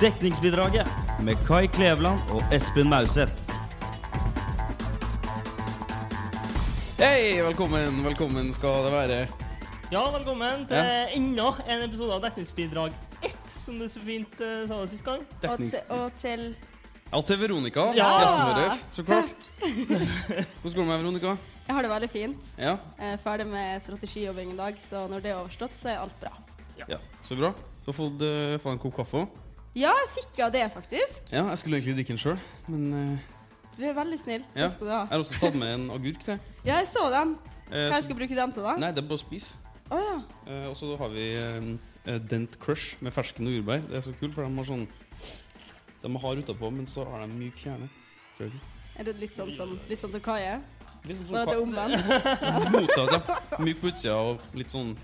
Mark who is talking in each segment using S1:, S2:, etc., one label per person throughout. S1: Dekningsbidraget med Kai Kleveland og Espen Mauseth.
S2: Hei, velkommen, velkommen skal det være.
S3: Ja, velkommen til
S2: Ja.
S3: enda en episode av Dekningsbidrag 1, som du så fint eh, sa det sist gang.
S4: Og,
S2: Deknings...
S4: til- og til
S2: Ja, til Veronica,
S3: Ja!
S2: gjesten vår, så klart. Hvordan går det med Veronica?
S4: Jeg har det veldig fint.
S2: Ja,
S4: Jeg er ferdig med strategijobbing i dag, så når det er overstått, så er alt bra.
S2: ja. så bra. Du har fått, eh, fått en kopp kaffe òg.
S4: Ja, jeg fikk av det, faktisk.
S2: Ja, jeg skulle egentlig drikke den sjøl, men eh,
S4: Du er veldig snill.
S2: ja.
S4: Takk skal du
S2: Jeg
S4: ha.
S2: har også tatt med en agurk til.
S4: Ja, jeg så den.
S2: Eh,
S4: Hva jeg
S2: så-
S4: skal jeg bruke den til, da?
S2: Nei, det er bare å spise.
S4: Å ja.
S2: Eh, og så har vi eh, eh, Dent Crush med fersken og jordbær. Det er så kult, for de har sånn De er harde utapå, men så har de myk kjerne. Tror jeg.
S4: Er det litt sånn som, litt sånn som Kai er?
S2: Litt sånn
S4: Bare at det er
S2: som
S4: omvendt.
S2: ka- motsatt, ja. Myk på utsida og litt sånn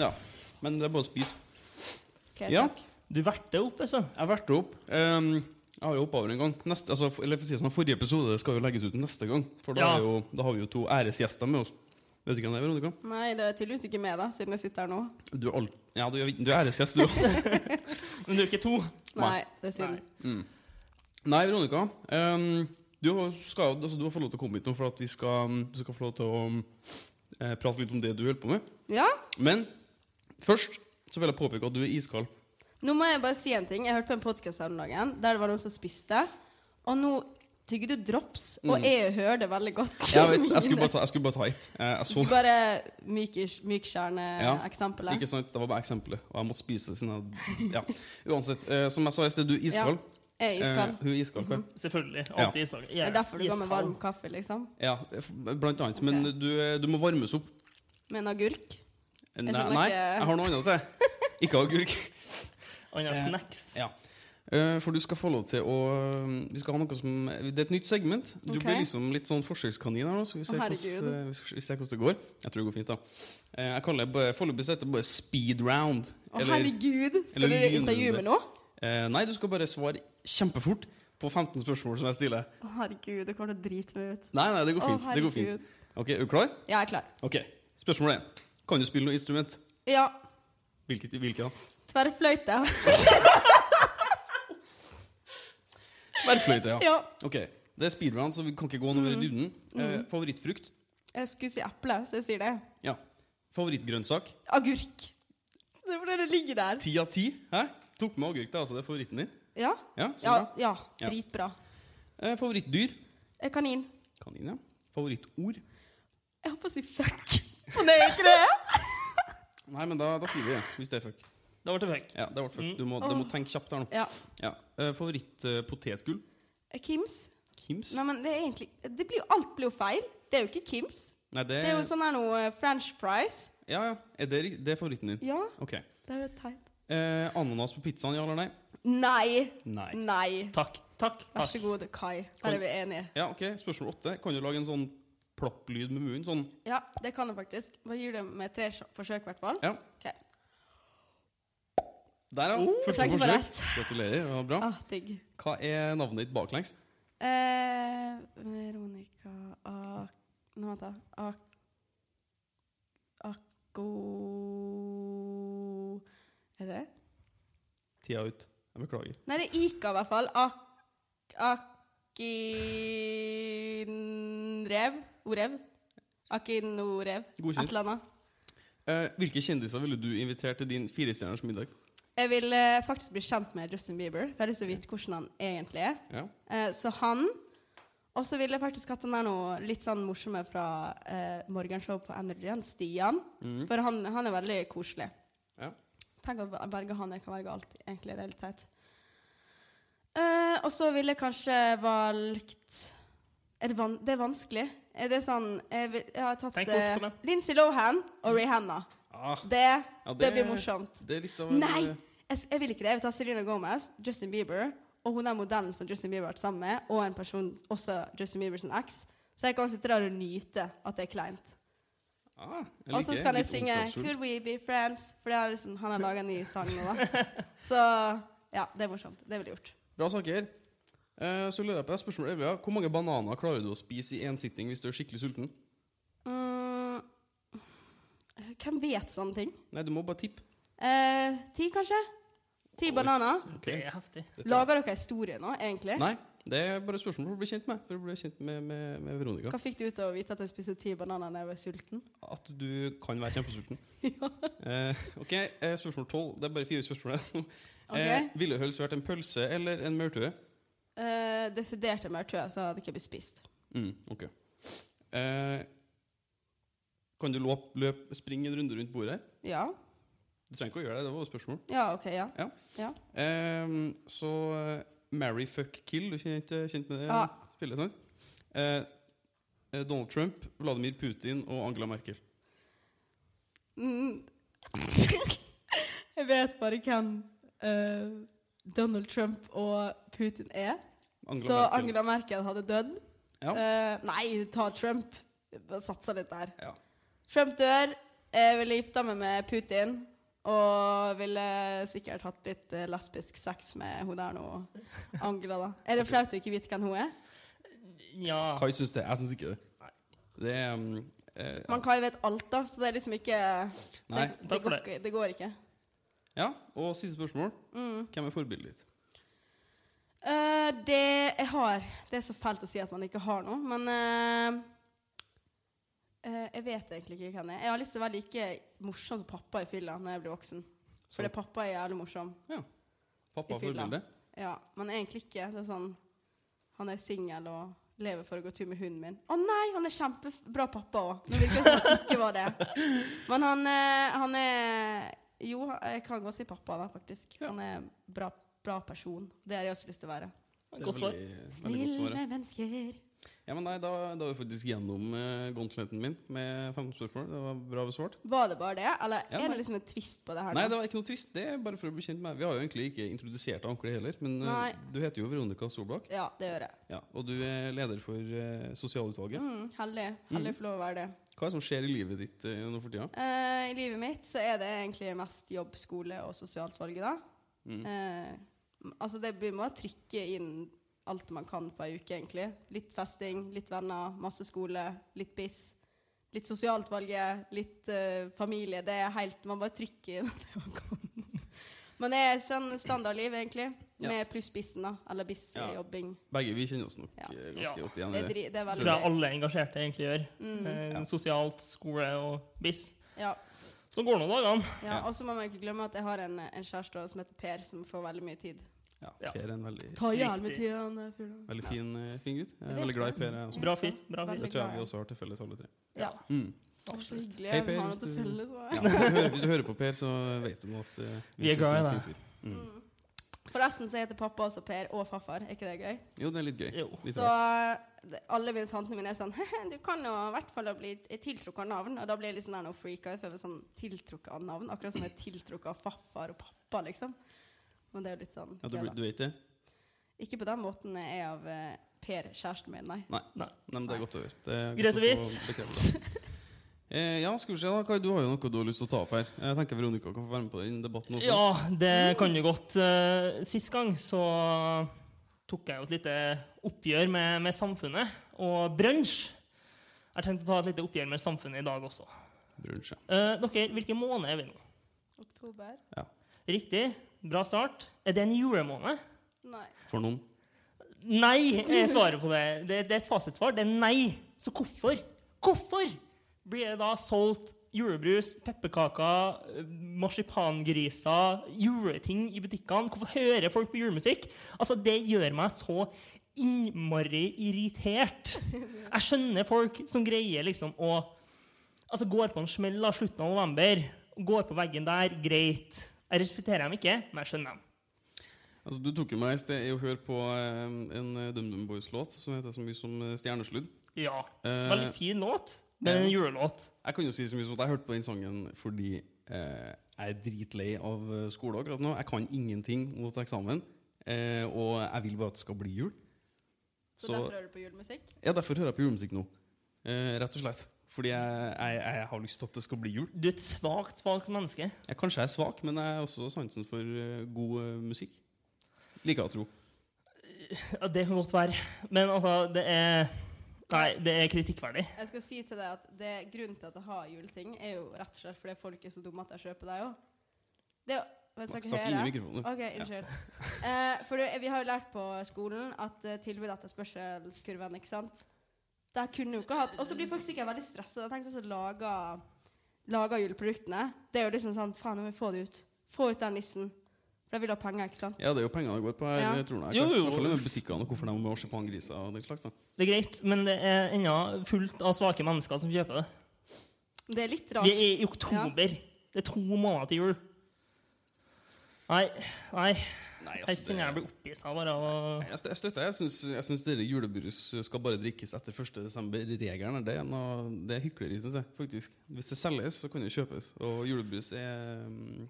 S2: Ja. Men det er bare å spise.
S4: Ok,
S2: Ja.
S4: takk.
S3: Du verter opp, Espen.
S2: Jeg verter opp. Ehm, jeg har jo hoppa over en gang. Neste, altså, for- eller for å si det sånn, Forrige episode skal jo legges ut neste gang. For da,
S3: Ja.
S2: er jo, da har vi jo to æresgjester med oss. Vet du hvem det er, Veronica?
S4: Nei, det er tydeligvis ikke med, da, siden jeg sitter her nå.
S2: Du er, all... ja, du, er- du er æresgjest, du òg.
S3: Men du er ikke to.
S4: Nei, det er synd.
S2: Nei, Veronica. ehm, du, har- skal, altså, du har fått lov til å komme hit nå for at vi skal, um, du skal få lov til å eh, prate litt om det du holder på med.
S4: Ja,
S2: Men først så vil jeg påpeke at du er iskald.
S4: Nå må jeg bare si en ting. Jeg hørte på en podkast her om dagen der det var noen som spiste. Og nå tygger du drops, og jeg hører det veldig godt.
S2: Mm. Jeg, vet, jeg skulle bare ta, jeg skulle bare ta ett. Eh, Jeg
S4: Du
S2: så
S4: skal bare mykkjerne-eksempelet.
S2: Ikke sant? Det var bare eksempelet. Og jeg måtte spise det siden jeg ja. Uansett, eh, som jeg sa i sted, du er iskald.
S4: jeg er iskald. Mhm.
S2: Eh, hun er iskald, hva?
S3: Selvfølgelig.
S2: Ja.
S3: Alltid isak.
S4: Det er derfor du går med varm kaffe, liksom.
S2: Ja, f- blant annet. Men
S4: Ok.
S2: du, eh, du må varmes opp.
S4: Med en agurk.
S2: Nei,
S4: skjønner
S2: nei,
S4: ikke.
S2: jeg har noe annet til. Ikke agurk.
S3: Andre
S2: Eh,
S3: snacks.
S2: Ja. Eh, For du skal få lov til å um, Vi skal ha noe som eh, Det er et nytt segment. Du
S4: Ok.
S2: blir liksom litt sånn forsøkskanin her nå, så vi ser,
S4: herregud.
S2: hvordan, eh, vi skal- vi ser hvordan det går. Jeg tror det går fint, da. Eh, Jeg kaller det bare- Foreløpig så heter det bare speed round.
S4: Å, herregud! Skal
S2: eller
S4: dere intervjue
S2: lynrunde.
S4: meg nå?
S2: Eh, nei, du skal bare svare kjempefort på 15 spørsmål som jeg stiller.
S4: Å, herregud, det kommer til å drite meg ut.
S2: Nei, nei, det går
S4: Å,
S2: fint. det går
S4: herregud.
S2: fint. Ok, Er du klar?
S4: Jeg er klar.
S2: Ok, Spørsmål 1. Kan du spille noe instrument?
S4: Ja.
S2: Hvilket? hvilket da?
S4: Tverrfløyte.
S2: Tverrfløyte, ja.
S4: ja. Mm.
S2: Ok, Det er speedround, så vi kan ikke gå noe mer i dybden. Eh, favorittfrukt?
S4: Jeg skulle si eple, så jeg sier det.
S2: Ja. Favorittgrønnsak?
S4: Agurk. Det er fordi det ligger der.
S2: Ti av ti. Hæ? Tok med agurk, det er altså det er favoritten din.
S4: Ja.
S2: Ja, så
S4: Ja,
S2: bra.
S4: ja.
S2: Ja.
S4: Dritbra.
S2: Eh, favorittdyr?
S4: Eh, Kanin.
S2: Kanin, ja. Favorittord?
S4: Jeg holdt på å si fuck. Men det er ikke det.
S2: Nei, men da, da sier vi det, hvis det er fuck. Mm.
S3: Da ble det fuck.
S2: Ja, det ble fuck. Du må, du må tenke kjapt her nå.
S4: Ja.
S2: Ja. Eh, Favorittpotetgull?
S4: Eh, Kims.
S2: Kims?
S4: Nei, men det er egentlig det blir jo, Alt blir jo feil. Det er jo ikke Kims.
S2: Nei, det,
S4: Det er jo sånn her noe eh, french fries.
S2: Ja, ja. Er det, ri- det er favoritten din?
S4: Ja,
S2: Ok.
S4: det er jo teit.
S2: Eh, ananas på pizzaen, ja eller nei?
S4: Nei.
S2: Nei.
S4: Nei.
S3: Takk. Takk.
S4: Vær
S3: takk.
S4: så god, Kai. Der er vi enige.
S2: Ja, ok. Spørsmål åtte. Kan du lage en sånn plapplyd med munnen? Sånn
S4: Ja, det kan jeg faktisk. Hva gir det med tre sj- forsøk, i hvert fall?
S2: Ja.
S4: Ok.
S2: Der, ja. Første
S4: takk for
S2: forsøk.
S4: Oh, rett.
S2: Gratulerer. Det var bra.
S4: Ah, digg.
S2: Hva er navnet ditt baklengs?
S4: Eh, Veronica A... Nå vent, da. A... Akko... Er det det?
S2: Tida ut. Jeg beklager.
S4: Nei, det er Ika, i hvert fall. Ak... Akinrev? Orev? Akinorev?
S2: Godkjent.
S4: Et eller annet. Ah.
S2: Eh, hvilke kjendiser ville du invitert til din firestjerners middag?
S4: Jeg vil eh, faktisk bli kjent med Justin Bieber. For jeg har lyst til å vite hvordan han egentlig er.
S2: Ja.
S4: Eh, så han Og så ville jeg faktisk hatt den der noe litt sånn morsomme fra eh, morgenshow på Energy, han Stian. For han, han er veldig koselig.
S2: Mm. ja.
S4: Tenk å velge han. Jeg kan velge alt, egentlig. Det er litt teit. Eh, og så ville jeg kanskje valgt er det, van, det er vanskelig. Er det sånn Jeg, vil, jeg har tatt
S3: Tenk fort,
S4: eh,
S3: kom igjen.
S4: Lindsay Lohan og Rihanna.
S2: Ah,
S4: Det,
S2: Ja,
S4: det,
S2: det-
S4: blir morsomt.
S2: det er litt av eh,
S4: Nei! Jeg, s- jeg vil ikke det. Jeg vil ta Selena Gomez, Justin Bieber og hun er modellen som Justin Bieber har vært sammen med, og en person, også Justin Bieber sin eks. Så jeg kan sitte der og nyte at det er kleint.
S2: Ah, jeg
S4: Og så
S2: liker
S4: skal jeg
S2: litt
S4: synge
S2: ondskapsfullt.
S4: 'Could We Be Friends', for det er liksom, han har laga en ny sang nå, da. Så ja, det er morsomt. Det ville jeg gjort.
S2: Bra saker. Eh, så lurer jeg på spørsmål 11. ja. Hvor mange bananer klarer du å spise i én sitting hvis du er skikkelig sulten?
S4: Mm, hvem vet sånne ting?
S2: Nei, du må bare tippe.
S4: Eh, ti, kanskje? Ti bananer.
S3: Det er heftig.
S4: Lager dere historie nå, egentlig?
S2: Nei, det er bare spørsmål for å bli kjent med. For å bli kjent med, med, med Veronica.
S4: Hva fikk du ut av å vite at jeg spiste ti bananer da jeg var sulten?
S2: At du kan være kjempesulten. eh, ok, eh, spørsmål tolv. Det er bare fire spørsmål igjen.
S4: Ok.
S2: Eh, ville det helst vært en pølse eller en maurtue?
S4: Eh, desidert mer tøy, så hadde jeg ikke blitt spist.
S2: Mm, ok. Eh, kan du løp, løp, springe en runde rundt bordet? her?
S4: Ja.
S2: Du trenger ikke å gjøre det. Det var jo et spørsmål.
S4: Ja, OK, ja.
S2: Ja.
S4: Ja.
S2: Ehm, så eh, Marry, fuck, kill. Du kjenner ikke kjent med det
S4: Ja.
S2: spillet? sant? Eh, eh, Donald Trump, Vladimir Putin og Angela Merkel.
S4: Mm. jeg vet bare hvem eh, Donald Trump og Putin er.
S2: Angela
S4: så
S2: Merkel.
S4: Angela Merkel hadde dødd.
S2: Ja.
S4: Eh, nei, ta Trump. Bare Satsa litt der.
S2: Ja.
S4: Trump dør. Jeg ville gifta meg med Putin. Og ville sikkert hatt litt eh, lesbisk sex med hun der nå, Angela, da. Er det flaut å ikke vite hvem hun er?
S3: Nja
S2: Kai syns det. Jeg syns ikke det. Det er ehm, eh,
S4: Man Kai vet alt, da, så det er liksom ikke
S2: Nei.
S4: det, det,
S3: Takk for
S4: går,
S3: det.
S4: ikke- det går ikke. Mm.
S2: Ja, og siste spørsmål. Hvem er forbildet ditt?
S4: Eh, det jeg har Det er så fælt å si at man ikke har noe, men eh, eh, Jeg vet egentlig ikke hvem jeg er. Jeg har lyst til å være like morsom som pappa i fylla når jeg blir voksen.
S2: Så-
S4: Fordi pappa er jævlig morsom.
S2: Pappa
S4: i
S2: er
S4: fylla.
S2: forbildet?
S4: Ja, men egentlig ikke. Det er sånn Han er singel og lever for å gå tur med hunden min. Å nei, han er kjempebra pappa òg. Nå virker det som han ikke var det. Men han, eh, han er Jo, jeg kan godt si pappa, da, faktisk.
S2: Ja.
S4: Han er en bra, bra person. Det har jeg også lyst til å være.
S2: Det er
S3: Godt svar.
S2: veldig- veldig godt svar, ja.
S4: Snille mennesker.
S2: Ja, men nei, da, da er vi faktisk gjennom eh, gauntleten min med 15 spørsmål. Det var bra besvart.
S4: Var det bare det, eller
S2: Ja,
S4: er
S2: nei.
S4: det liksom en twist på det her?
S2: Nei,
S4: nå?
S2: det var ikke noe twist. Det er bare for å bli kjent med Vi har jo egentlig ikke introdusert ordentlig heller, men eh,
S4: Nei.
S2: du heter jo Veronica Solbakk.
S4: Ja, det gjør jeg.
S2: Ja, og du er leder for eh, sosialutvalget.
S4: Mm, heldig. Heldig å få lov å være det.
S2: Hva er det som skjer i livet ditt eh, nå for tida?
S4: Eh, I livet mitt så er det egentlig mest jobb, skole og sosialt valg, da. Eh, m- altså det blir med å trykke inn alt man kan på ei uke, egentlig. Litt festing, litt venner, masse skole, litt biss. Litt sosialt valget, litt eh, familie. Det er helt Man bare trykker inn det man kan. Men det er sånn standardliv, egentlig.
S2: Ja.
S4: Med pluss bissen, da. Eller biss i
S2: Ja.
S4: jobbing.
S2: Begge vi kjenner oss nok
S4: Ja.
S2: eh,
S3: Ja.
S2: ganske godt igjen
S4: Det
S2: i
S4: er,
S2: det.
S4: dri, det er
S3: tror
S4: veldig
S3: jeg alle engasjerte egentlig gjør.
S4: Mm.
S3: Eh,
S2: Ja.
S3: Sosialt, skole og biss.
S4: Ja.
S3: Så går nå dagene.
S4: Ja, og så må man ikke glemme at jeg har en, en kjæreste også som heter Per, som får veldig mye tid.
S2: Ja,
S3: Ja.
S2: Per er en veldig,
S4: Ta
S3: gjerne med
S4: tida.
S2: veldig fin, eh, fin gutt. Jeg
S4: Jeg
S2: er
S4: vet
S2: veldig glad i Per. Jeg, også.
S3: Bra fyr. bra fyr.
S4: Veldig
S2: det tror jeg
S4: glad i.
S2: vi også har til felles, alle tre.
S4: Ja.
S2: Mm.
S4: Så
S3: Absolutt.
S4: hyggelig.
S2: Hei,
S4: Vi
S2: Per,
S4: har
S2: hvis
S4: noe til
S2: du-
S4: felles. også.
S2: Ja, hvis, du hører, hvis du hører på Per, så vet du nå at eh,
S3: Vi er
S2: synes
S3: glad i
S2: du en
S3: deg.
S2: fin fyr.
S4: Mm. Forresten så heter pappa også Per og farfar. Er ikke det gøy?
S2: Jo, det er litt gøy.
S3: Jo.
S2: Litt
S4: Så
S2: rart.
S4: eh, det- alle mine tantene mine er sånn «Hehe, Du kan jo i hvert fall bli tiltrukket av navn. Og da blir jeg litt sånn der, nå freaka ut, for jeg blir sånn tiltrukket av navn. Akkurat som jeg er tiltrukket av farfar og pappa, liksom. Men det er jo litt sånn
S2: Ja, du,
S4: gøy,
S2: blir-
S4: da.
S2: du vet det?
S4: Ikke på den måten jeg er av eh, Per, kjæresten min, nei.
S2: Nei.
S3: Nei.
S2: Nei, men det er godt å høre. Det er
S3: Greit og
S2: godt å få bekreftet. Eh, ja, skal vi se da, Kai, du har jo noe du har lyst til å ta opp her. Jeg tenker Veronica kan få være med på den debatten også.
S3: Ja, det kan du godt. Eh, Sist gang så tok jeg jo et lite oppgjør med, med samfunnet og brunsj. Jeg tenkte å ta et lite oppgjør med samfunnet i dag også.
S2: Brunsj, ja.
S3: Eh, dere, hvilken måned er vi nå?
S4: Oktober?
S3: Riktig. Bra start. Er det en julemåned?
S4: Nei.
S2: For noen.
S3: Nei, er svaret på det. Det, det er et fasitsvar. Det er nei. Så hvorfor? Hvorfor blir det da solgt julebrus, pepperkaker, eh, marsipangriser, juleting i butikkene? Hvorfor hører folk på julemusikk? Altså, det gjør meg så innmari irritert. Jeg skjønner folk som greier liksom å Altså går på en smell da, slutten av november. Går på veggen der, greit. Jeg respekterer dem ikke, men jeg skjønner dem.
S2: Altså, du tok jo meg i sted i å høre på eh, en eh, DumDum Boys-låt som heter så mye som eh, Stjernesludd.
S3: Ja.
S2: Eh,
S3: Veldig fin låt, men en julelåt.
S2: Jeg kan jo si så mye som at jeg hørte på den sangen fordi eh, jeg er dritlei av eh, skole akkurat nå. Jeg kan ingenting mot eksamen, eh, og jeg vil bare at det skal bli jul.
S4: Så, derfor er du på julemusikk?
S2: Ja, derfor hører jeg på julemusikk nå. Eh, rett og slett. Fordi jeg, jeg, jeg har lyst til at det skal bli jul.
S3: Du er et svakt, svakt menneske.
S2: Jeg, kanskje jeg er svak, men jeg har også sansen for eh, god eh, musikk. Liker jeg å tro.
S3: Ja, det kan godt være. Men altså, det er Nei, det er kritikkverdig.
S4: Jeg skal si til deg at det, Grunnen til at jeg har juleting, er jo rett og slett fordi folk er så dumme at jeg kjøper deg òg. vet dere
S2: Snakk
S4: hva
S2: snakk
S4: jeg
S2: inn
S4: er?
S2: i mikrofonen.
S4: Ok, unnskyld. Eh, for du, vi har jo lært på skolen at eh, tilbud etter spørselskurven, ikke sant? Der kunne jo ikke hatt Og så blir folk sikkert veldig stressa. Jeg tenkte altså laga, laga juleproduktene. Det er jo liksom sånn Faen, nå må vi få det ut. Få ut den nissen. For jeg vil ha penger, ikke sant?
S2: Ja, det er jo pengene det går på her.
S4: Ja.
S2: Jeg tror jeg,
S3: Jo, jo.
S2: I hvert fall i de butikkene og hvorfor de må på griser og den slags. Da.
S3: Det er greit, men det er ennå fullt av svake mennesker som kjøper det.
S4: Det er litt
S3: Vi
S4: rart.
S3: er i oktober. Det er to måneder til jul. Nei, nei.
S2: Nei,
S3: Jeg
S2: altså,
S3: kjenner jeg
S2: det,
S3: blir oppgitt av bare å
S2: Nei, jeg stø- jeg støtter. Jeg syns, jeg syns dere julebrus skal bare drikkes etter 1.12.-regelen. Det, er noe- det er hykleri, syns jeg. faktisk. Hvis det selges, så kan det kjøpes. Og julebrus er mm,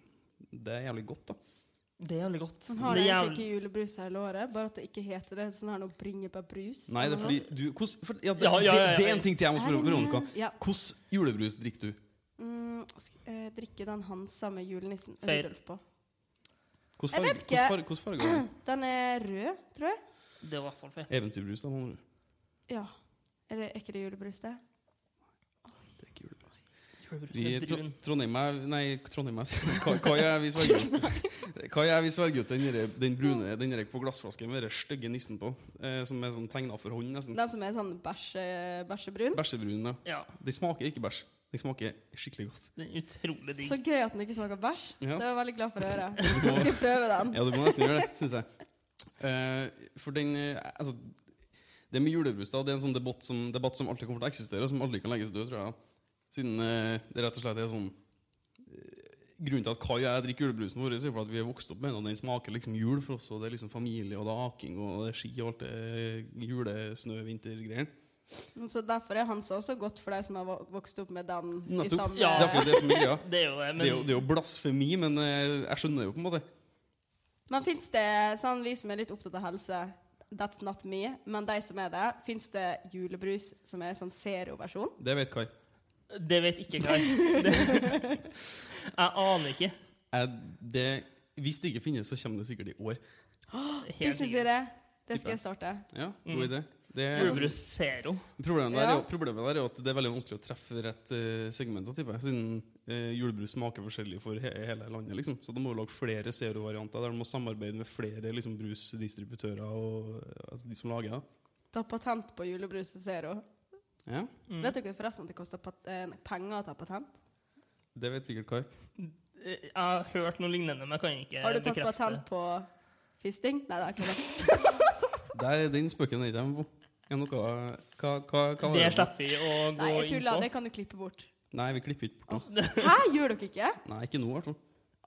S2: Det er jævlig godt, da.
S3: Det er veldig godt.
S4: Man Sånn har
S3: Det er
S4: egentlig
S3: jævlig-
S4: ikke julebrus hele året, bare at det ikke heter det. Sånn her noe bringebærbrus.
S2: Nei, det er
S4: eller
S2: fordi
S4: noe.
S2: du hvordan- for, ja, det,
S3: Ja, ja, ja,
S2: det, det er
S3: ja.
S2: en ting til jeg må spørre om, Veronica.
S4: Ja.
S2: Hvordan julebrus drikker du?
S4: Mm, sk- eh, drikke den Hansa med julenissen
S3: Feil.
S4: Rudolf på.
S2: Hvordan
S4: Jeg
S2: farge-
S4: vet ikke.
S2: hvordan farge- hvordan farge har den?
S4: Den er rød, tror jeg.
S3: Det er i hvert fall feil.
S2: Eventyrbrus, da. med andre ord.
S4: Ja. Er, det, er ikke det julebrus, det?
S2: Det er ikke julebrus.
S3: Julebrus
S2: Vi,
S3: er
S2: tro,
S3: brun.
S2: Trondheim er Nei, Trondheim er Hva hva gjør vi sverger Hva gjør vi sverger ut den, derre- den brune Den der på glassflaske med den stygge nissen på? Eh, som er sånn tegna for hånd, nesten.
S4: Den som er sånn bæsje, bæsjebrun?
S2: Bæsjebrun, ja.
S3: Ja,
S2: Den smaker ikke bæsj. Den smaker skikkelig godt.
S3: den er utrolig digg.
S4: Så gøy at den ikke smaker bæsj.
S2: Ja.
S4: Det var jeg veldig glad for å høre.
S2: Du
S4: Jeg
S2: må,
S4: skal prøve den.
S2: ja, du må nesten gjøre det, syns jeg. Eh, for den eh, Altså, det med julebrus da, det er en sånn debatt som, debatt som alltid kommer til å eksistere, og som aldri kan legges død, tror jeg. Siden eh, det rett og slett er sånn eh, Grunnen til at Kai og jeg drikker julebrusen vår, er jo for at vi er vokst opp med den, og den smaker liksom jul for oss. Og det er liksom familie, og det er aking, og det er ski og alt det eh, julesnø-vintergreiene.
S4: Så derfor er Hansa også godt for deg som har vo- vokst opp med den i
S2: Nettopp.
S4: samme
S2: Det er akkurat det som er greia.
S3: Det er jo det,
S2: Det er jo,
S3: men
S2: det er jo blasfemi, men eh, jeg skjønner det jo på en måte.
S4: Men fins det, sånn vi som er litt opptatt av helse That's not me. Men de som er det, fins det julebrus som er sånn serioversjon?
S2: Det vet Kai.
S3: det vet ikke Kai. Det- Jeg aner ikke.
S2: Jeg, det, hvis det ikke finnes, så kommer det sikkert i år.
S3: Helt
S4: Business i
S3: sikkert.
S4: det. Det skal jeg starte.
S2: Ja, god idé. Det er,
S3: Julebrus zero.
S2: problemet, der, er
S4: Ja.
S2: jo- problemet der er jo at det er veldig vanskelig å treffe rett eh, segment, da, tipper jeg, siden eh, julebrus smaker forskjellig for he hele landet. liksom. Så de må jo lage flere zero-varianter der de må samarbeide med flere liksom, brusdistributører. og eh, altså, de som lager det.
S4: Ta patent på julebrus til zero.
S3: Mm.
S2: Ja,
S4: Vet dere forresten at det koster pat eh, penger å ta patent?
S2: Det vet sikkert Kai.
S3: Eh, Jeg har hørt noe lignende, men jeg kan ikke
S4: Har du tatt
S3: bekrefte
S4: patent på fisting? Nei, det er ikke det.
S2: Der er den spøken jeg ikke er med på. Er noe, hva, hva, hva var
S3: Det
S2: det?
S3: slipper vi å gå
S4: Nei, jeg
S3: inn
S4: tuller.
S3: på.
S4: Det kan du klippe bort.
S2: Nei, vi klipper ikke bort noe.
S4: Hæ, gjør dere ikke?
S2: Nei, ikke nå, i hvert fall.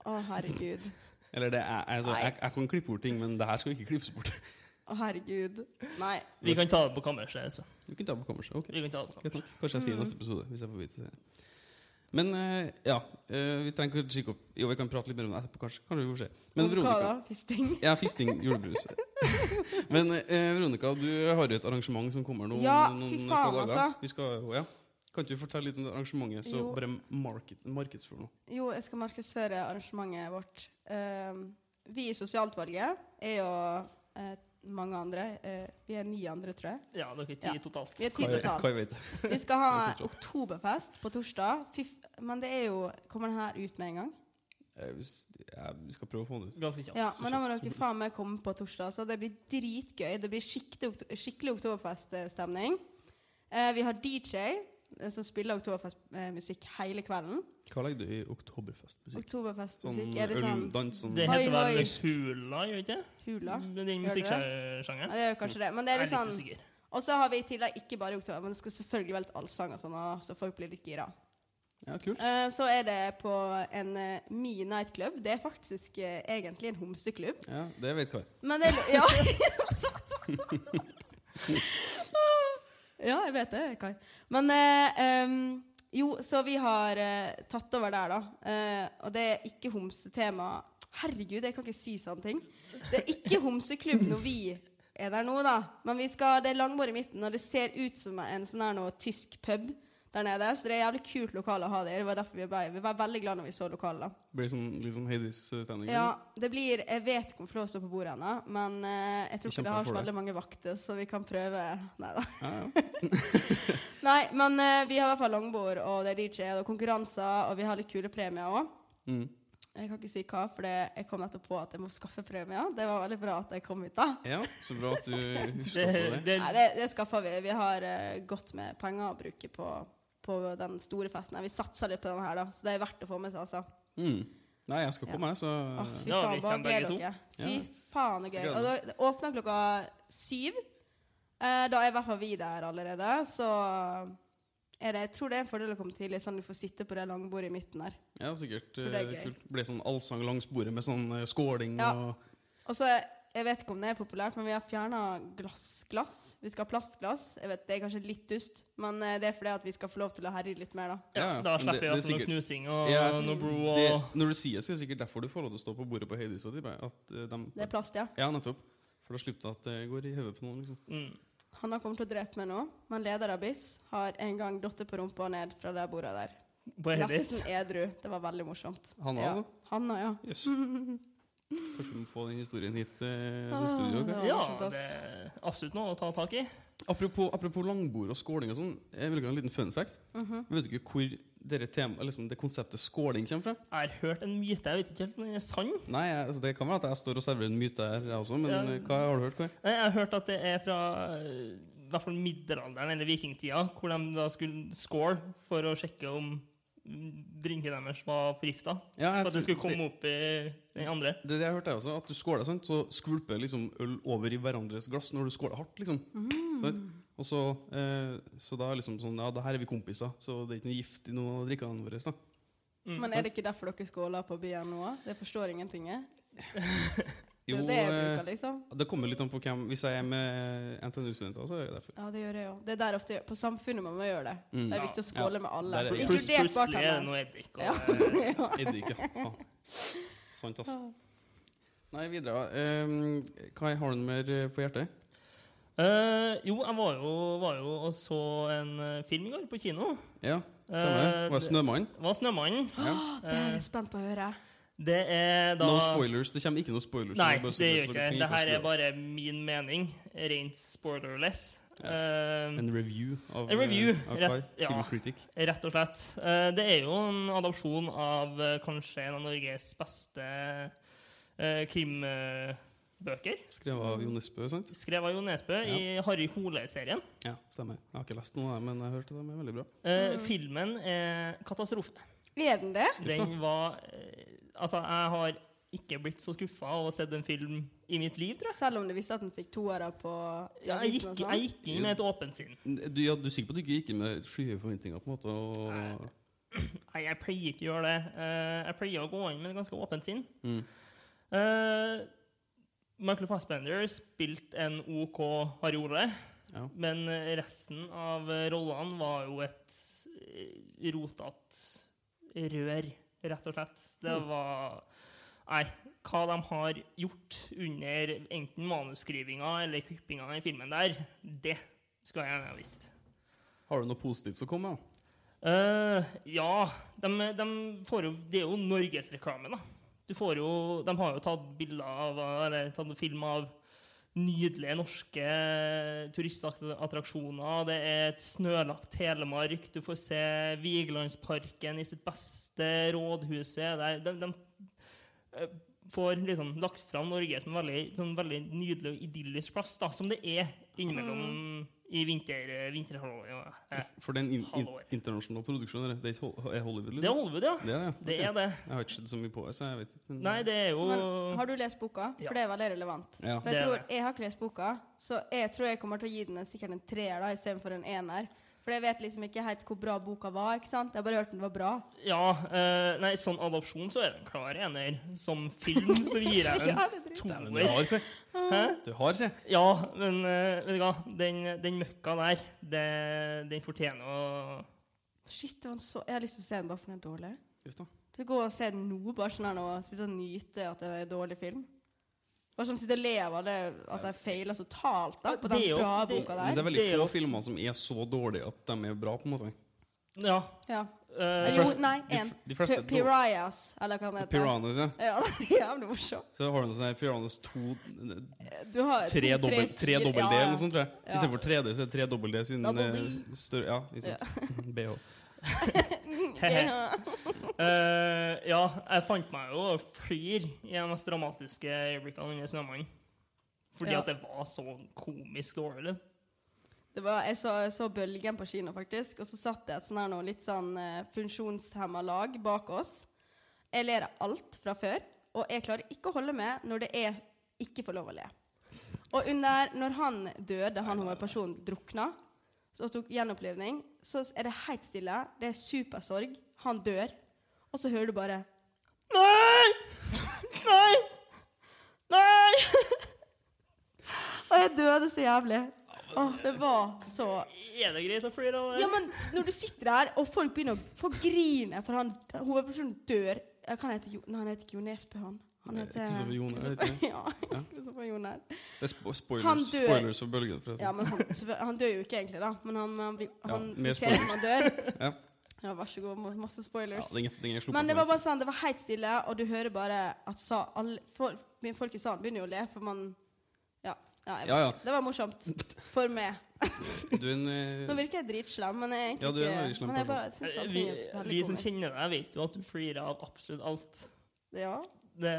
S4: Å, herregud.
S2: Eller det er, altså,
S4: Nei.
S2: jeg, jeg kan klippe bort ting, men det her skal ikke klippes bort.
S4: Å, herregud. Nei.
S3: Vi kan ta det på kammerset. Espen.
S2: Du kan ta på kammerset. ok.
S3: Vi kan ta det på
S2: Greit
S3: kammerset.
S2: nok. Kanskje jeg
S4: Mm.
S2: sier i neste episode. Hvis jeg får vite det. Men eh, ja, eh, vi trenger ikke å kikke opp Jo, vi kan prate litt mer om det etterpå, kanskje. Kanskje vi får se. Men
S4: Om Hva da?
S2: Veronica
S4: Fisting?
S2: Ja, fisting, julebrus. Men eh, Veronica, du har jo et arrangement som kommer nå om
S4: Ja,
S2: noen
S4: fy
S2: få
S4: faen,
S2: dager.
S4: altså.
S2: Vi skal, jo- ja. Kan ikke du fortelle litt om det arrangementet? Så
S4: Jo.
S2: bare market, markedsfør nå.
S4: Jo, jeg skal markedsføre arrangementet vårt. Ehm, vi i sosialtvalget er jo eh, mange andre. eh, vi er ni andre, tror jeg.
S3: Ja, dere er
S4: Ja.
S3: ti totalt.
S4: Vi er ti
S2: Hva-
S4: totalt.
S2: hva jeg vet.
S4: Vi skal ha
S2: Jeg tror
S4: oktoberfest på torsdag. Fy f men det er jo Kommer den her ut med en gang?
S2: Eh, hvis- ja, Vi skal prøve å få den ut.
S3: Ganske kjapt.
S4: Ja,
S2: så
S4: men da må
S2: kjapt.
S4: dere faen meg komme på torsdag. Så det blir dritgøy. Det blir skikkelig, okt- skikkelig oktoberfeststemning. Eh, vi har DJ eh, som spiller oktoberfestmusikk hele kvelden.
S2: Hva legger du i oktoberfestmusikk?
S4: Oktoberfestmusikk,
S2: Sånn
S4: er det sånn
S2: øldans sånn
S3: Det
S4: Oi,
S3: heter vel
S4: oi.
S3: Hula, gjør ikke det?
S4: hula?
S3: Den
S4: Gjør det det? Ja,
S3: musikksjangeren.
S4: det er jo kanskje det. Men det
S3: Jeg
S4: er
S3: er
S4: litt sånn
S3: litt usikker.
S4: Og så har vi i tillegg ikke bare oktober, men det skal selvfølgelig være litt allsang og sånn, og så folk blir litt gira.
S2: Ja, kult.
S4: Eh, så er det på en eh, Me Night Club. Det er faktisk eh, egentlig en homseklubb.
S2: Ja, det vet Kai.
S4: Men det er lo- Ja. ja, jeg vet det, Kai. Men eh, em, jo, så vi har eh, tatt over der, da. Eh, og det er ikke homsetema Herregud, jeg kan ikke si sånne ting. Det er ikke homseklubb når vi er der nå, da. Men vi skal, det er langbord i midten, og det ser ut som en sånn her noe tysk pub der nede. Så det er jævlig kult lokale å ha der. Det var derfor vi ble, vi var veldig glad når vi så lokalet, da.
S2: Blir sånn, litt sånn Hades-stemning.
S4: Ja, det blir Jeg vet ikke om Flå står på bordet ennå, men eh, jeg tror
S2: Vi
S4: ikke det
S2: kjemper
S4: har
S2: for
S4: så
S2: det.
S4: veldig mange vakter, så vi kan prøve Nei da.
S2: Ja, ja.
S4: Nei, men eh, vi har i hvert fall langbord, og det er DJ, og det er konkurranser, og vi har litt kule premier òg.
S2: Mm.
S4: Jeg kan ikke si hva, for det- jeg kom nettopp på at jeg må skaffe premier. Det var veldig bra at jeg kom hit, da.
S2: Ja, så bra at du husker
S3: Det,
S2: på det.
S3: det,
S4: Nei, det, det skaffa vi. Vi har eh, godt med penger å bruke på, på den store festen. her. Vi satsa litt på den her, da, så det er verdt å få med seg, altså.
S2: Mm. Nei, jeg skal på meg, så
S4: Å, fy
S3: Da har vi
S4: faen, bare
S3: kjent
S4: gled
S3: begge
S4: dere. Fy
S2: Ja.
S4: faen, det er gøy. Og da, det åpna klokka syv. Eh, da er i hvert fall vi der allerede, så er det, jeg tror det er en fordel å komme tidlig, sånn at du får sitte på det langbordet i midten der.
S2: Ja, sikkert
S4: det er
S2: eh,
S4: gøy.
S2: kult. Ble sånn allsang langs bordet med sånn eh, skåling
S4: Ja.
S2: og
S4: Og så, jeg vet ikke om det er populært, men vi har fjerna glassglass. Vi skal ha plastglass. Jeg vet, Det er kanskje litt dust, men eh, det er fordi at vi skal få lov til å herje litt mer, da.
S3: ja,
S2: ja,
S3: da
S2: men det-
S3: slipper vi
S2: det er
S3: at noe
S2: sikkert-
S3: knusing og
S2: Ja,
S3: noe bro
S2: det,
S3: og
S2: Når du sier det, så er det sikkert derfor du får lov til å stå på bordet på Heidis. tipper jeg, At eh, dem-
S4: Det er plast, ja.
S2: Ja, nettopp. For da slipper du at det går i hodet på noen. liksom.
S3: mm.
S4: Han har kommet til å drepe meg nå, men leder av BIS har en gang datt på rumpa og ned fra det bordet der.
S3: På Hedis.
S4: Nesten edru. Det var veldig morsomt.
S2: Han
S4: ja.
S2: altså?
S4: Hanna,
S3: Mm,
S4: ja.
S2: Jøss. Kanskje vi må få den historien hit eh, til studio.
S4: det
S2: ikke?
S4: var
S3: Ja,
S4: morsomt, ass.
S3: det er absolutt noe å ta tak i.
S2: Apropos, apropos langbord og skåling og sånn. Jeg vil ikke ha en liten fun fact. Vet du ikke hvor dere tema, eller liksom det konseptet skåling kommer fra?
S3: Jeg har hørt en myte, jeg vet ikke helt om den er sann.
S2: Nei, jeg, altså, Det kan være at jeg står og serverer en myte her, jeg også, men
S3: Ja.
S2: eh, hva har du hørt? Hva?
S3: Nei, Jeg har hørt at det er fra eh, i hvert fall middelalderen eller vikingtida, hvor de da skulle score for å sjekke om mm, drinken deres var forgifta.
S2: Ja, jeg
S3: For at det
S2: tror-
S3: skulle komme opp i den andre.
S2: Det, det jeg hørte jeg også, at du skåler, sant? så skvulper liksom øl over i hverandres glass når du skåler hardt. liksom.
S3: Mm.
S2: Sant? Og så, eh, så da er liksom sånn, ja, da her er vi kompiser, så det er ikke noe gift i noen av drikkene våre. da.
S3: Mm,
S4: Men er det ikke derfor dere skåler på byen nå? Det forstår ingenting jeg. Det er
S2: Jo,
S4: jo det jeg
S2: eh,
S4: bruker, liksom.
S2: det kommer litt an på hvem. Hvis jeg er med NTNU-studenter, så er det derfor.
S4: Ja, det gjør jeg jo. Det er der ofte På samfunnet må man gjøre det.
S2: Mm.
S4: Det er
S3: Ja.
S4: viktig å skåle med alle.
S2: Der er-
S3: Plus, plutselig
S4: Inkludert
S3: er det
S4: bartenderen.
S3: noe eddik. Og, eh,
S4: Ja. Ja.
S2: Eddik, ja. Faen. Sant, altså. Nei, videre. Um, hva har du mer eh, på hjertet?
S3: Eh, jo, jeg var jo, var jo og så en eh, film i går på kino.
S2: Ja, stemmer.
S3: Eh,
S2: Var det Snømannen?
S3: Det var 'Snømannen'. Eh,
S2: Ja.
S4: Ah, Det er jeg spent på å høre.
S3: Det er da
S2: No spoilers. Det kommer ikke noe spoilers.
S3: Nei,
S2: er bare så-
S3: det gjør
S2: så
S3: ikke
S2: du
S3: det.
S2: kan
S3: Det
S2: oss
S3: her
S2: spoil.
S3: er bare min mening. Rent spoilerless.
S2: Ja.
S3: Eh,
S2: En review av,
S3: En review,
S2: eh, av
S3: rett-
S2: Kai,
S3: ja.
S2: Film Critic.
S3: Rett og slett. Eh, Det er jo en adopsjon av eh, kanskje en av Norges beste eh, krimbøker.
S2: Skrevet av Jo Nesbø, sant?
S3: Skrevet av Jo Nesbø i Harry Hole-serien.
S2: Ja, stemmer. Jeg har ikke lest noen av dem, men jeg hørte dem er veldig bra.
S3: Eh, Filmen er katastrofe.
S4: Er den det?
S3: Den var eh, Altså, jeg har ikke blitt så skuffa av å ha sett en film i mitt liv, tror jeg.
S4: Selv om du visste at den fikk toere på
S3: Ja, jeg, gikk,
S4: sånn.
S3: jeg gikk inn med et åpent sinn.
S2: Du, ja, du er sikker på at du ikke gikk inn med skyhøye forventninger? på en måte? Og...
S3: Nei, jeg pleier ikke å gjøre det. Eh, jeg pleier å gå inn med et ganske åpent sinn.
S2: Mm.
S3: Eh, Michael Fassbender spilte en OK Harry Ole,
S2: Ja.
S3: men resten av rollene var jo et eh, rotete rør, rett og slett. Det var Nei, hva de har gjort under enten manusskrivinga eller klippinga i filmen der, det skulle jeg gjerne ha visst.
S2: Har du noe positivt å komme med?
S3: Eh, ja, de, de får jo Det er jo norgesreklame, da. Du får jo, de har jo tatt bilder av Eller tatt film av nydelige norske turistattraksjoner. Det er et snølagt Telemark. Du får se Vigelandsparken i sitt beste. Rådhuset der. De, de eh, får liksom lagt fram Norge som en veldig, sånn veldig nydelig og idyllisk plass, da, som det er innimellom i vinter, vinterhalvåret. Ja. Eh.
S2: For den in in
S3: Halvår.
S2: internasjonale produksjonen er det ikke Hol- er Hollywood? liksom?
S3: Det er Hollywood, ja.
S2: Det er det, ja.
S3: Det er
S2: Ok.
S3: det.
S2: Jeg har ikke sett så mye på det, så jeg vet ikke. men-
S3: Nei, det er jo
S4: Men har du lest boka?
S3: Ja.
S4: For det er veldig relevant.
S2: Ja.
S4: For
S3: Det
S4: jeg,
S3: er
S4: tror,
S3: det.
S4: jeg har ikke lest boka, så jeg tror jeg kommer til å gi den en- sikkert en treer da, istedenfor en ener. For jeg vet liksom ikke helt hvor bra boka var. ikke sant? Jeg har bare hørt den var bra.
S3: Ja. eh, nei, sånn adopsjon så er det en klar ener. Som film så gir jeg
S4: Ja,
S3: en
S4: det
S2: Dæven, du
S3: toer.
S2: har, Kai.
S3: Hæ?
S2: Du har, sier jeg.
S3: Ja, men eh, vet du hva, den, den møkka der, det, den fortjener å
S4: Shit, det var en så, Jeg har lyst til å se den bare for den er dårlig.
S2: Just da.
S4: Du går og ser den nå, bare sånn her nå, og sitte og nyte at det er en dårlig film. Bare sånn sitte og le av det, at jeg feiler så totalt da,
S3: Ja,
S4: på
S3: det
S4: den
S3: er jo-
S4: bra
S3: det-
S4: boka
S2: Men
S4: der.
S2: det er veldig
S3: Det er jo-
S2: få filmer som er så dårlige at de er bra, på en måte.
S3: Ja.
S4: Ja.
S3: eh,
S4: Jo,
S2: fleste-
S4: nei,
S2: de f-
S4: en.
S2: de fleste-
S4: Pi- Piraeas, eller hva den heter.
S2: Piranhas, ja.
S4: Ja, det er jævlig morsomt.
S2: Så har du noe sånn her Piranhas 2
S4: Du har
S2: Tre
S4: to,
S2: dobbel, tre
S4: fire-
S2: dobbel
S4: ja,
S2: D
S4: ja. E.
S2: eller noe sånt, tror jeg.
S4: Ja.
S2: eh, Istedenfor 3D, så er det tre dobbel D siden
S4: Double D.
S2: eh, større Ja, ikke sant. BH.
S4: Ja.
S3: Eh, ja, jeg fant meg jo flere i de mest dramatiske øyeblikkene under 'Snømannen'. Fordi
S4: Ja.
S3: at det var så komisk dårlig. liksom.
S4: Det var, jeg, så, jeg så Bølgen på kino, faktisk, og så satt det et sånn her noe litt sånn eh, funksjonshemma lag bak oss. Jeg ler av alt fra før, og jeg klarer ikke å holde med når det er ikke får lov å le. Og under, når han døde, han hovedpersonen drukna, så tok gjenopplivning, så er det helt stille. Det er supersorg. Han dør. Og så hører du bare
S3: Nei! Nei! Nei!
S4: Å, jeg døde så jævlig. Å, det var så
S3: Er det greit å flire av det?
S4: Ja, men når du sitter der, og folk begynner å få grine for han hovedpersonen dør Eh, Kan han hete Jo... Nei, han heter ikke Jo Nesbø, han. Han
S2: Nei, Eh,
S4: heter
S2: Kristoffer Joner,
S4: Kristoffer-
S2: heter
S4: Ja, Kristoffer Joner.
S2: Det er spo
S4: Han
S2: spoilers,
S4: dør.
S2: spoilers for bølgen, forresten.
S4: Ja, men han, selvfø- han dør jo ikke egentlig, da. Men han, han,
S2: Ja,
S4: han
S2: mer
S4: vi ser at han dør.
S2: Ja.
S4: Ja, vær så god. Masse
S2: Ja,
S4: spoilers.
S2: den er- den er sluppet
S4: Men det
S2: for
S4: var
S2: lengst.
S4: bare sånn, det var helt stille, og du hører bare at sa alle folk, men folk i salen begynner jo å le, for man Ja. ja, jeg,
S2: Ja, ja.
S4: Det var morsomt. For meg.
S2: Du er en eh,
S4: Nå virker jeg dritslem, men jeg er egentlig
S2: Ja, du er en veldig
S4: ikke-
S2: slem
S4: men jeg
S2: person.
S4: bare synes allting
S3: Eh, vi,
S4: er veldig
S3: vi som
S4: komisk.
S3: kjenner deg, vet jo at du flirer av absolutt alt.
S4: Ja.
S3: Det,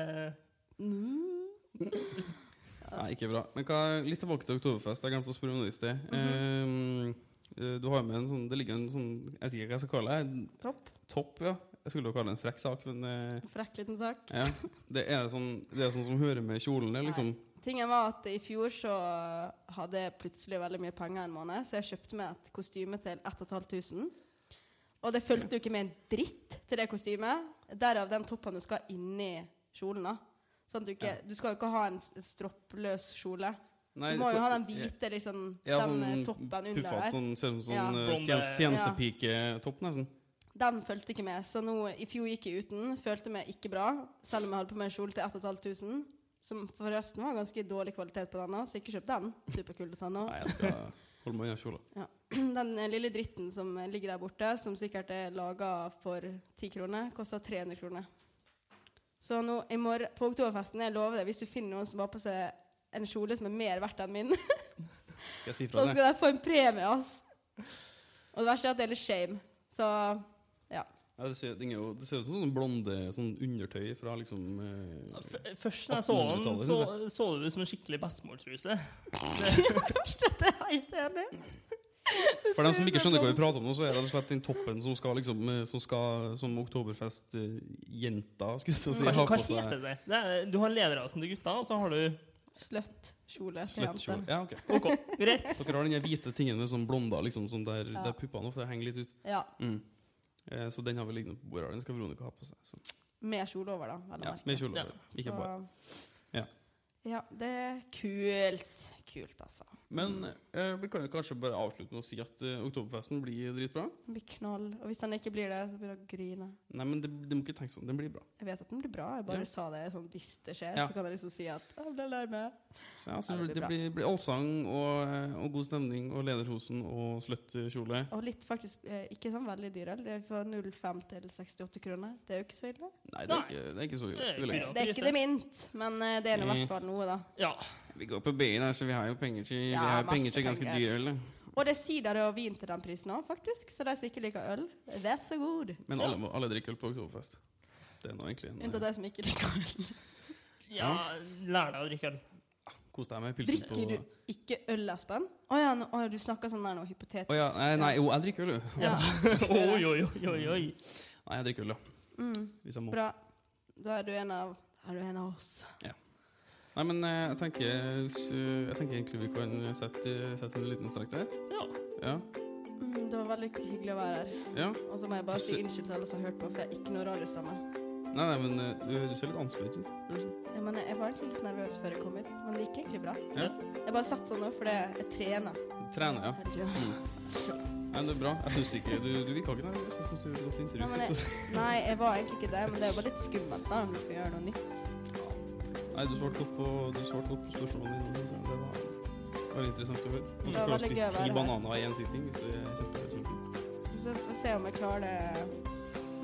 S2: Mm. Nei, ikke bra. Men hva, litt tilbake til Oktoberfest. Jeg glemte å spørre om det i sted.
S4: Mhm.
S2: Eh, eh, du har med en sånn Det ligger en sånn Jeg vet ikke hva jeg skal kalle det. en
S4: Topp.
S2: Topp, ja. Jeg skulle jo kalle det en frekk sak, men eh,
S4: Frekk liten sak.
S2: ja. Det er sånn, det er sånn som hører med kjolen, det, liksom.
S4: Tingen var at i fjor så hadde jeg plutselig veldig mye penger en måned, så jeg kjøpte meg et kostyme til 1500. Og det fulgte jo ikke med en dritt til det kostymet. Derav den toppen du skal ha inni kjolen. da. Sånn at du, ikke, du skal jo ikke ha en s- stroppløs kjole.
S2: Nei,
S4: du må jo ha den
S2: ja,
S4: hvite liksom,
S2: ja,
S4: den eh,
S2: sånn
S4: toppen under
S2: puffat,
S4: der.
S2: Sånn, ser ut som
S4: Ja.
S2: sånn eh,
S3: Blonde-
S2: tjeneste, tjenestepiketopp, nesten.
S4: Den fulgte ikke med. Så nå, i fjor gikk jeg uten. Følte meg ikke bra, selv om jeg hadde på meg en kjole til 1500. Som forresten var ganske dårlig kvalitet på denne, så ikke kjøp den. Superkul til denne.
S2: Nei, jeg skal holde meg unna kjola.
S4: Den eh, lille dritten som eh, ligger der borte, som sikkert er laga for 10 kroner, koster 300 kroner. Så nå, i morgen, på oktoberfesten, jeg lover deg, hvis du finner noen som har på seg en kjole som er mer verdt enn min,
S2: Skal jeg si
S4: så
S2: fra det?
S4: skal de få en premie, ass. Og det verste er at det er litt shame. Så ja.
S2: Ja, det, ser, den er jo, det ser ut som sånn blonde sånn undertøy fra liksom eh,
S3: f først da jeg så den,
S2: 1800-tallet,
S3: så,
S2: synes
S3: så det ut som en skikkelig bestemortruse.
S4: Dette er helt enig.
S2: For dem som ikke skjønner hva vi prater om nå, så er det rett og slett den toppen som skal liksom eh, Som, skal, som Oktoberfest-jenta, skulle jeg til å si,
S3: Hva,
S2: har
S3: hva
S2: på seg.
S3: heter det? det er, du har lederrasen til gutta, og så har du
S4: Sløtt kjole til
S2: Sluttkjole.
S4: jenter.
S2: Ja, ok.
S3: OK, greit.
S2: Dere har den der hvite tingen med sånn blonder, liksom, sånn der,
S4: Ja.
S2: der puppene ofte henger litt ut.
S4: Ja.
S2: Mm. Eh, så den har vi liggende på bordet. her. Den skal Veronica ha på seg. Så.
S4: Med kjole over, da. vel å
S2: Ja,
S4: merke.
S2: med kjole
S3: Ja.
S2: over. Ikke bare. Ja.
S4: ja, det er kult. Kult, altså.
S2: Men eh, vi kan jo kanskje bare avslutte med å si at eh, Oktoberfesten blir dritbra.
S4: Den blir knall. Og hvis den ikke blir det, så blir det å grine.
S2: Nei, men det, de må ikke tenke sånn. Den blir bra.
S4: Jeg vet at den blir bra. Jeg bare
S2: Ja.
S4: sa det sånn hvis det skjer,
S2: Ja.
S4: så kan jeg liksom si at jeg ble lei meg.
S2: Så ja, så
S4: Ja, det
S2: det,
S4: blir
S2: blir, blir, allsang og, eh, og god stemning og lederhosen og sluttkjole.
S4: Og litt faktisk eh, ikke sånn veldig dyr øl. Det er fra 05 til 68 kroner. Det er jo ikke så ille.
S2: Nei, det
S3: Nei.
S2: er ikke, det er ikke så
S3: Det er
S2: ille. vil jeg
S3: ikke
S2: si.
S4: Det er ikke det mint, men eh, det er nå i
S2: Mm.
S4: hvert fall noe, da.
S3: Ja.
S2: Vi går på BI, da, så vi har jo penger til, vi
S4: Ja,
S2: har jo penger
S4: masse
S2: til ganske
S4: penger.
S2: dyr øl. da.
S4: Og det er sider og vin til den prisen òg, faktisk. Så de som ikke liker øl, vær så god.
S2: Men alle, må- alle drikker øl på Oktoberfest. Det er nå egentlig en
S4: Unntatt
S2: eh,
S4: de som ikke liker øl.
S3: ja lær deg å drikke øl.
S2: Kos deg med pilsen på
S4: Drikker du ikke øl, Espen? Å ja, nå- å, du snakker sånn der nå, hypotetisk.
S2: Å ja, nei, nei, jo, jeg drikker øl, jo.
S4: Ja.
S3: Oi, oi, oi, oi, oi.
S2: Nei, jeg drikker øl, ja.
S4: Mm,
S2: Hvis jeg må.
S4: bra. Da er du en av, er du en av oss.
S2: Nei, men eh, jeg tenker, s- jeg tenker egentlig vi kan sette, sette en liten strek der.
S3: Ja.
S2: Ja.
S4: Mm, det var veldig hyggelig å være her.
S2: ja.
S4: Og så må jeg bare si unnskyld til alle som har hørt på, for jeg har ikke noe radiostemme.
S2: Nei, nei, men eh, du, du ser litt anspent ut. vil du si.
S4: Jeg, mener, jeg var egentlig litt nervøs før jeg kom hit, men det gikk egentlig bra.
S2: Ja.
S4: Jeg bare satt sånn nå, for det- jeg trener.
S2: Trener, ja.
S4: hele tiden.
S2: Nei, det er bra. Jeg syns ikke Du, du virka ikke nervøs. Jeg syns du gjorde et godt intervju.
S4: Nei, men jeg-
S2: så-
S4: Nei, jeg var egentlig ikke det, men det er bare litt skummelt da, om du skal gjøre noe nytt.
S2: Nei, du svarte godt på, du svarte godt på spørsmålene dine. synes jeg. Det var det var interessant å høre. Du
S4: Det var
S2: klarer å
S4: veldig gøy
S2: spise
S4: å være
S2: ti
S4: her.
S2: bananer i én sitting hvis du er kjempe, kjempe.
S4: Så får vi se om jeg klarer det.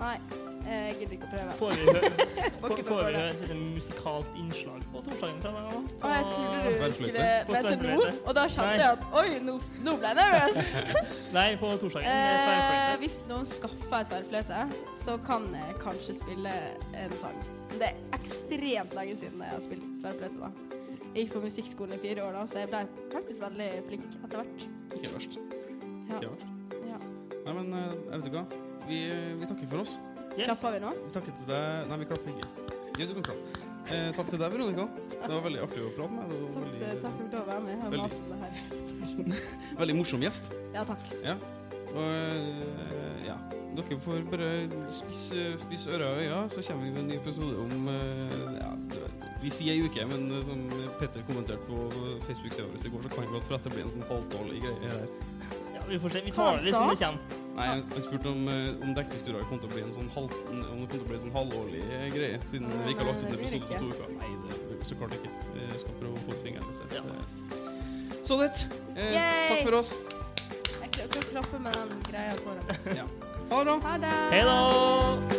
S4: Nei, Jeg gidder ikke å prøve.
S3: Får vi høre,
S4: Var ikke noe
S3: får
S4: for
S3: vi
S4: det.
S3: høre et lite musikalt innslag på torsdagen fra deg nå?
S4: Og jeg trodde du
S2: Tverrfløyte.
S4: skulle
S3: På
S4: vente nå,
S3: tverrfløyte.
S4: og da kjente
S3: Nei.
S4: jeg at oi, nå, nå ble jeg nervøs.
S3: Nei, på torsdagen. det er
S4: Eh,
S3: tverrfløyte.
S4: hvis noen skaffer ei tverrfløyte, så kan jeg kanskje spille en sang. Det er ekstremt lenge siden jeg har spilt tverrfløyte, da. Jeg gikk på musikkskolen i fire år da, så jeg ble faktisk veldig flink etter hvert.
S2: Ikke verst.
S4: Ja.
S2: Ikke verst.
S4: Ja.
S2: Nei, men eh, jeg vet ikke hva. Vi, vi takker for oss.
S3: Yes.
S4: Klapper vi nå?
S2: Vi takker til deg Nei, vi klapper ikke. Ja, du kan klappe. Eh, takk til deg, Veronica. Det var veldig artig å prate med deg.
S4: Takk,
S2: og
S4: eh, takk
S2: Veldig,
S4: for at du var med. Jeg har
S2: Veldig.
S4: mast om det her.
S2: veldig morsom gjest.
S4: Ja, takk.
S2: Og eh, ja, dere får bare spisse, spisse ører og øyne, så kommer vi med en ny episode om eh, ja, det- Vi sier ei uke, men eh, som Petter kommenterte på Facebook-sida vår i går, så kan det godt for at det blir en sånn halvdårlig greie her.
S3: Ja, vi får se. Vi
S4: Hva
S3: tar det som
S4: sa?
S3: det kommer.
S2: Nei, jeg jeg spurte om, eh, om dekningsbidraget kom til å bli en sånn, halv, om det kom til å bli en sånn halvårlig eh, greie, siden
S4: Nei,
S2: vi ikke har lagt ut
S4: det
S2: en
S4: blir
S2: episode
S4: ikke.
S2: på to uker. Nei, det blir så klart ikke. Jeg skal prøve å få fingeren litt til.
S3: Ja.
S2: Det- Så det. Eh,
S4: Yay!
S2: takk for oss.
S4: Jeg klarer ikke å klappe med den greia foran.
S2: Ja. Ha det bra.
S4: Ha det!
S3: Hei da!